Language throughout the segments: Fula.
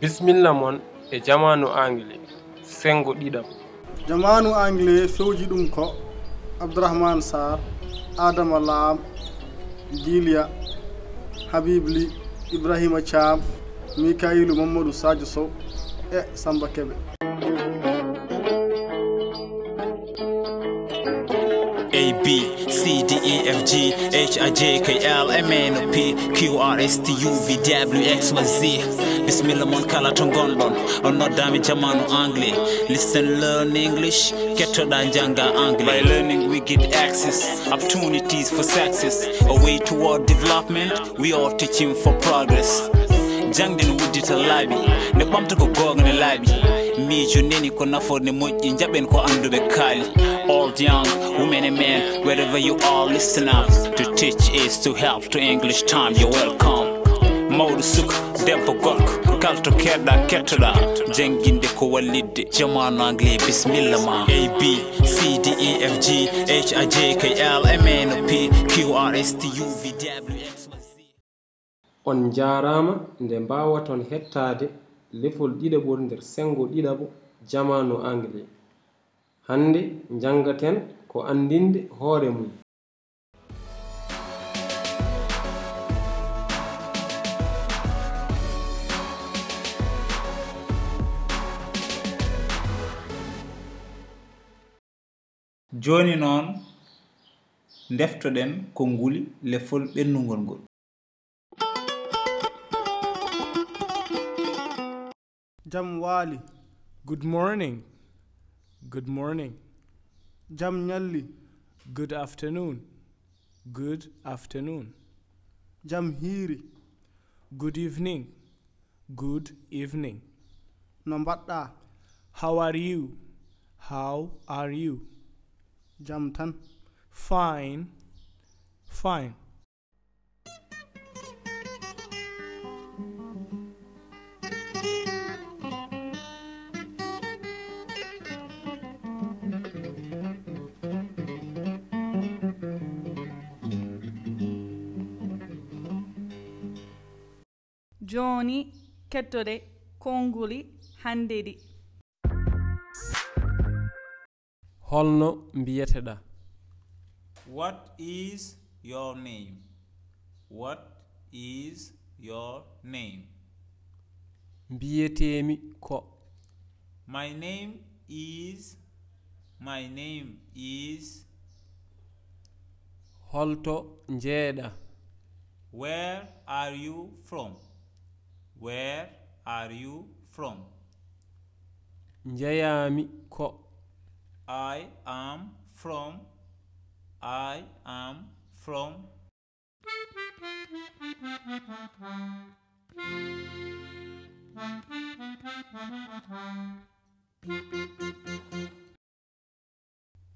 bisimilla moon e jamanu englis sengo ɗiɗam jamanu anglais fewji ɗum ko abdourahmane sar adama laam dilia habibli ibrahima thiam mikailu mamadou sadio sow e samba keɓe A B C D E F G H I J K L M N O P Q R S T U V W X Y Z Bismillah mon kala to gonɗon on noddami jamanu anglais listen learn english kettoɗa janga anglais by learning we get access opportunities for success a way toward development we are teaching for progress jangde no uddita laaɓi nde ɓamta ko goonga ne laaɓi miijo neni ko nafoore moƴƴi jaɓen ko annduɓe kaali old young women and men wherever you are listen up to teach is to help to english time you're welcome mawɗo suka debbo gorko kala to keerɗa kettoɗa janguinde ko wallidde jamanu anglais bisimilla ma a b c d e f g h i j k l m n o p q r s t u v w x y z on njaaraama nde mbaawaton hettaade lefol ɗiɗaɓol nder sengo ɗiɗaɓo jamanu anglais hannde njanngaten ko anndinde hoore mum joni noon deftoɗen ko nguli lefol ɓennugol ngol jam waali Good morning. Good morning. jam ñalli Good afternoon. Good afternoon. jam hiiri Good evening. Good evening. no mbaɗɗa How are you? How are you? jam tan Fine. Fine. jooni kettode konnguli hanndedi holno mbiyeteɗa What is your name? What is your name? mbiyeteemi ko My name is. My name is. holto njeeɗa Where are you from? Where are you from? njeyaami ko I am from. I am from.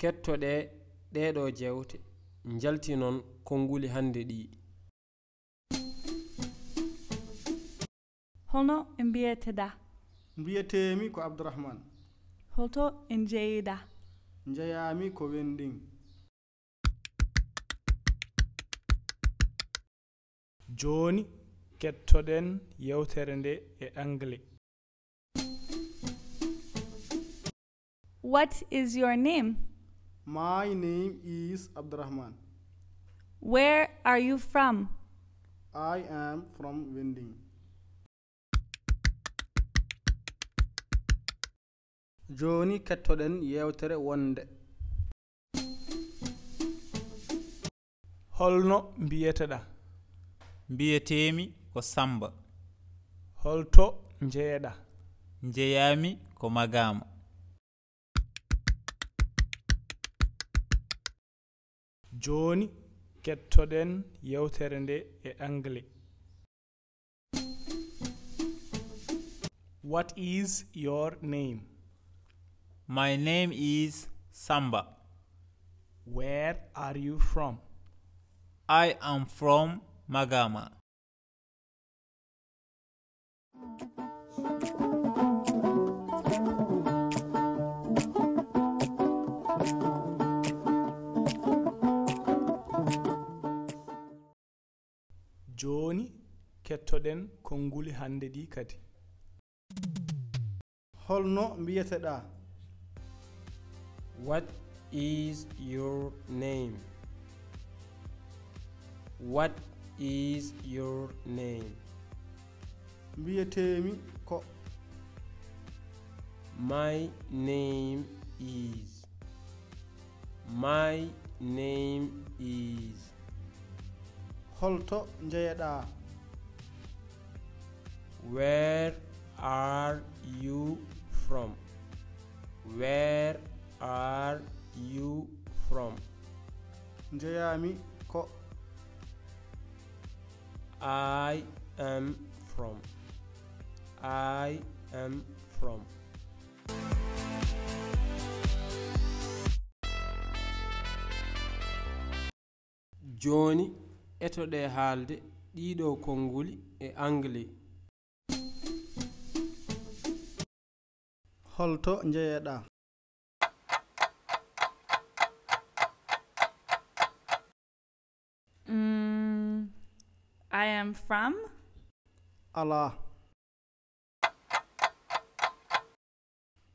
kettoɗe ɗeɗo jewte njalti noon konnguli hannde ɗi holno e mbiyeteɗa mbiyetemi ko abdourahmane holto e njeeyiɗa jeyami ko wendin Joni kettoɗen yewtere nde e anglais. what is your name my name is abdourahmane where are you from i am from wendin joni kettoɗen yewtere wonde Holno mbiyeteɗa? mbiyetemi ko samba Holto njeeɗa? njeyami ko magama Joni kettoɗen yewtere nde e anglais. What is your name? my name is samba Where are you from? I am from Magama. jooni kettoɗen konnguli hannde ɗi kadi holno mbiyeteɗa What is your name? What is your name? mbiyetemi ko My name is. My name is. holto jeeyaɗa Where are you from? Where are you from? jeeyami ko I am from. I am from. Joni etoɗe haalde ɗiɗo konnguli e anglais holto jeeyaɗa Mm, I am from. ala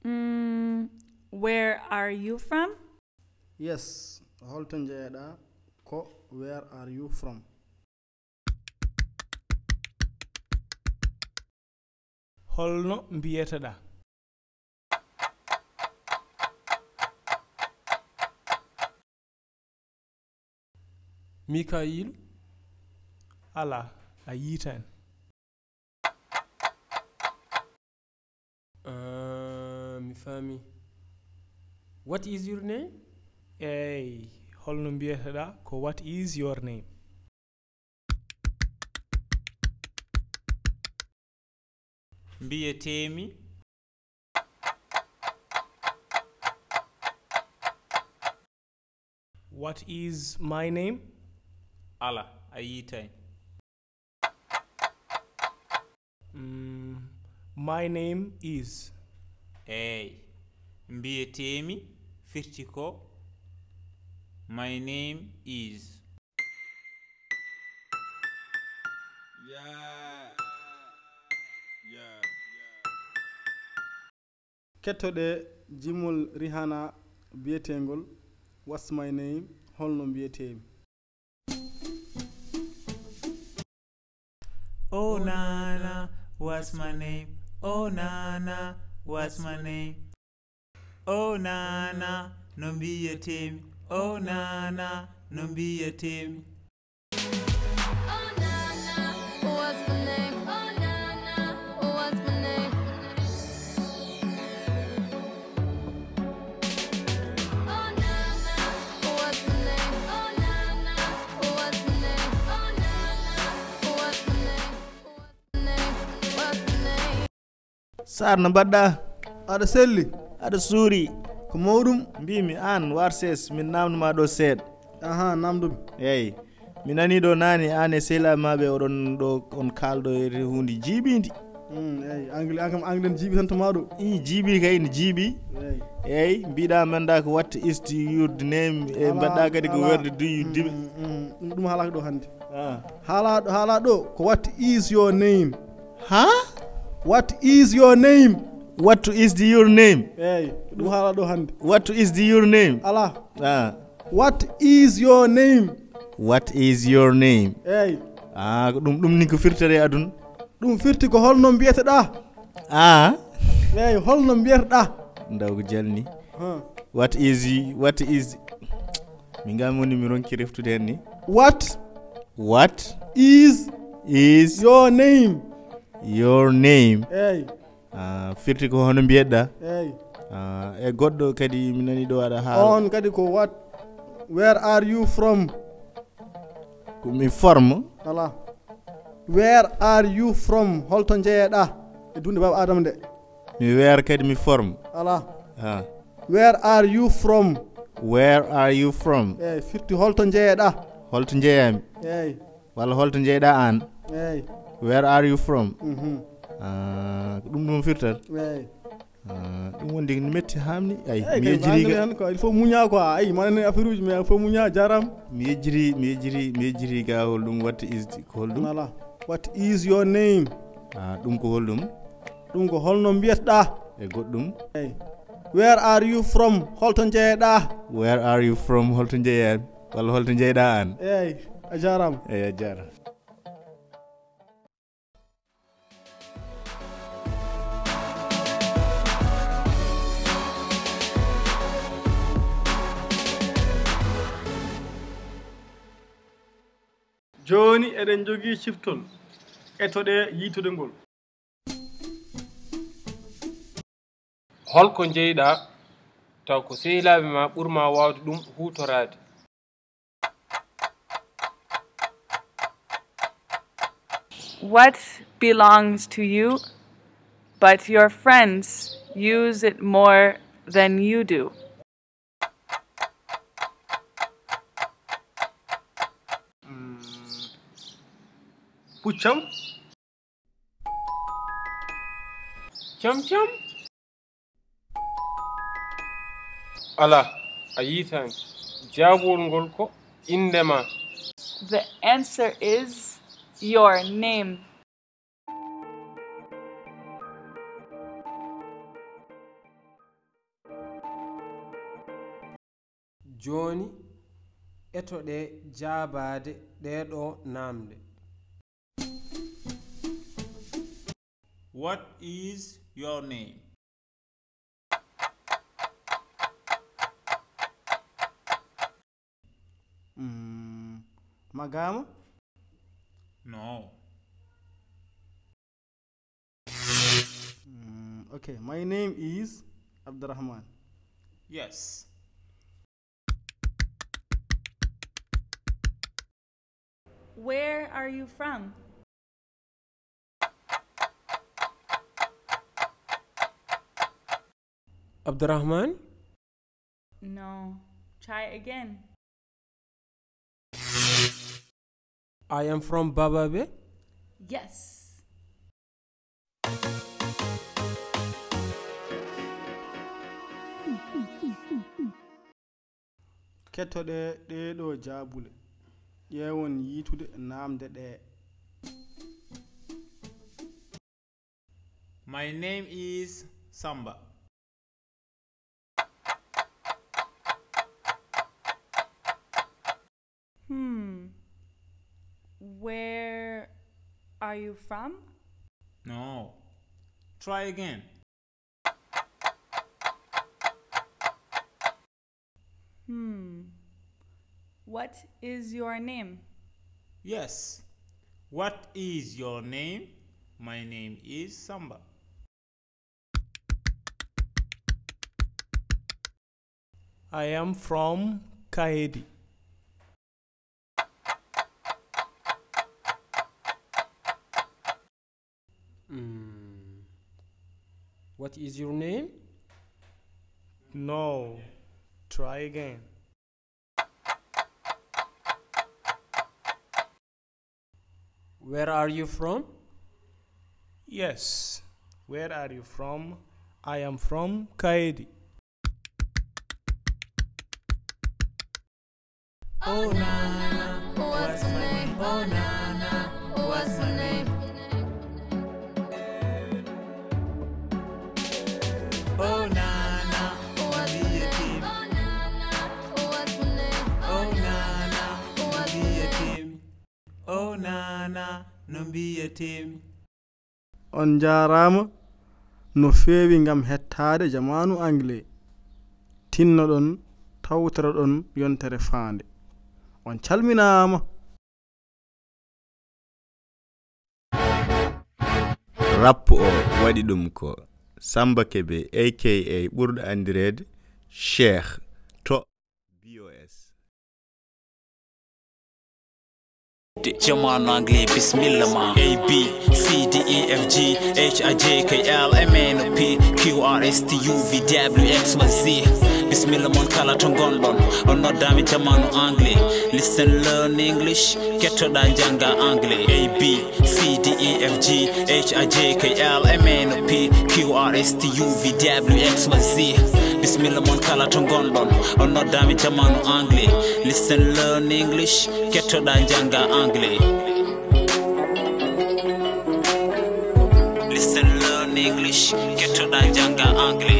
Mm, where are you from? yes holto jeeyaɗa ko where are you from holno mbiyeteɗa mikayilu ala a yiita en ah, mi faami what is your name eyi holno mbiyeteɗa ko what is your name mbiyetemi what is my name ala a yiitani mm, my name is eyi mbiyetemi firti ko my name is kettoɗe jimol rihana biyetegol what's my name holno mbiyetemi oh nana what's my name oh nana what's my name oh nana no mbiyetemi oh nana no mbiyetemi Oh Nana, what's my name? Oh Nana, what's my name? Oh Nana, what's my name? Oh Nana, what's my name? Oh Nana, what's my name? What's my name? What's my name? sar no mbaɗɗa aɗa selli aɗa suuri ko mawɗum mbimi an warses min namdoma ɗo seeɗa aha namdumi eyyi mi nani ɗo naane an e sehlaɓe maɓe oɗon ɗo on kalɗo e hunde jiibidi Mm, eyi anglais an kam anglais ne jiiɓi tan to maɗo i jiibi kay ne jiibi eyi eyyi mbiɗa manda ko watta ist yurde name e Ala- mbaɗɗa kadi ko ala. werde duyu diɓe Mm, mm, ɗum ɗum haalaka ɗo hannde Ah. haalaɗo haalaɗo ko what is your name ha what is your name what to ist your name eyi ɗum haala ɗo hannde what to ist your name ala ah. what is your name what is your name eyi ah ko ɗum ɗum ni ko firtere e aduna ɗum firti ko holno mbiyeteɗa a eyi holno mbiyeteɗa ndaw ko jalni Huh. what is what is mi ngam woni mi ronki reftude hen ni what what is is your name your name eyi uh, firti ko hono mbiyeɗɗa eyi uh, e goɗɗo kadi mi nani ɗo aɗa haala on kadi ko what where are you from ko mi forme ala where are you from holto jeeyaɗa e dunde baba adama nde mi weer kadi mi forme ala uh, where are you from where are you from eyyi firti holto jeeyaɗa holto jeeyami eyyi walla holto jeeyɗa an eyyi where are you from mhm, uh, ko ɗum ɗum firtat eyyi Ah, ɗum wondi no metti hamni ayi eyyi mi kay ko yejjiri andiri hen quoi il faut muña quoi ayi manane affaire uji mais il faut muña jarama mi yejjiri mi yejjiri mi yejjiri ga holɗum watta isdi ko holɗum ala what is your name Ah, ɗum ko holɗum ɗum ko holno mbiyatɗa e goɗɗum eyyi where are you from holton jeeyaɗa where are you from holto jeeya walla holto jeeyɗa an eyyi a jarama eyi a jara joni eɗen jogii ciftol etoɗe yiitude ngol holko jeyɗa taw ko sehlaaɓe ma ɓurma wawde ɗum hutorade What belongs to you, but your friends use it more than you do? puccam cam cam ala a yiitani jaabol ngol ko indema The answer is your name. joni etoɗe jaabade ɗeɗo namde What is your name? Mm, magama No. Mm, okay my name is abdurrahman Yes. Where are you from? abdourahmane No. Try again. i am from bababe Yes. kettoɗe ɗeɗo jaabule ƴeewon yiitude namde ɗe My name is Samba. Hmm. Where are you from? No. Try again. Hmm. What is your name? Yes. What is your name? My name is Samba. I am from Kaedi. mm. what is your name No. Try again. where are you from Yes. Where are you from? I am from Kaedi. Oh Nana, what's my name? Oh Nana, what's my name? Oh Nana, What's my name? Oh Nana, what's my name? oh Nana, no be a team. Oh Nana, no be a team. on jaarama no feewi ngam hettade jamanu anglais tinnoɗon tawtoraɗon yontere faande on calminama rappo o waɗi ɗum ko samba kebe aka ɓurɗo andirede cheikh to bos jamanu anglais bismilla ma a b c d e f g h i j k l m n o p q r s t u v w x y z bisimilla mon kala to gonɗon on noddami jamanu anglais listen learn english kettoɗa jangga anglais a b c d e f g h i j k l m n o p q r s t u v w x y z bisimilla mon kala to gonɗon on noddami jamanu anglais listen learn english kettoɗa jangga anglais listen learn english kettoɗa jangga anglais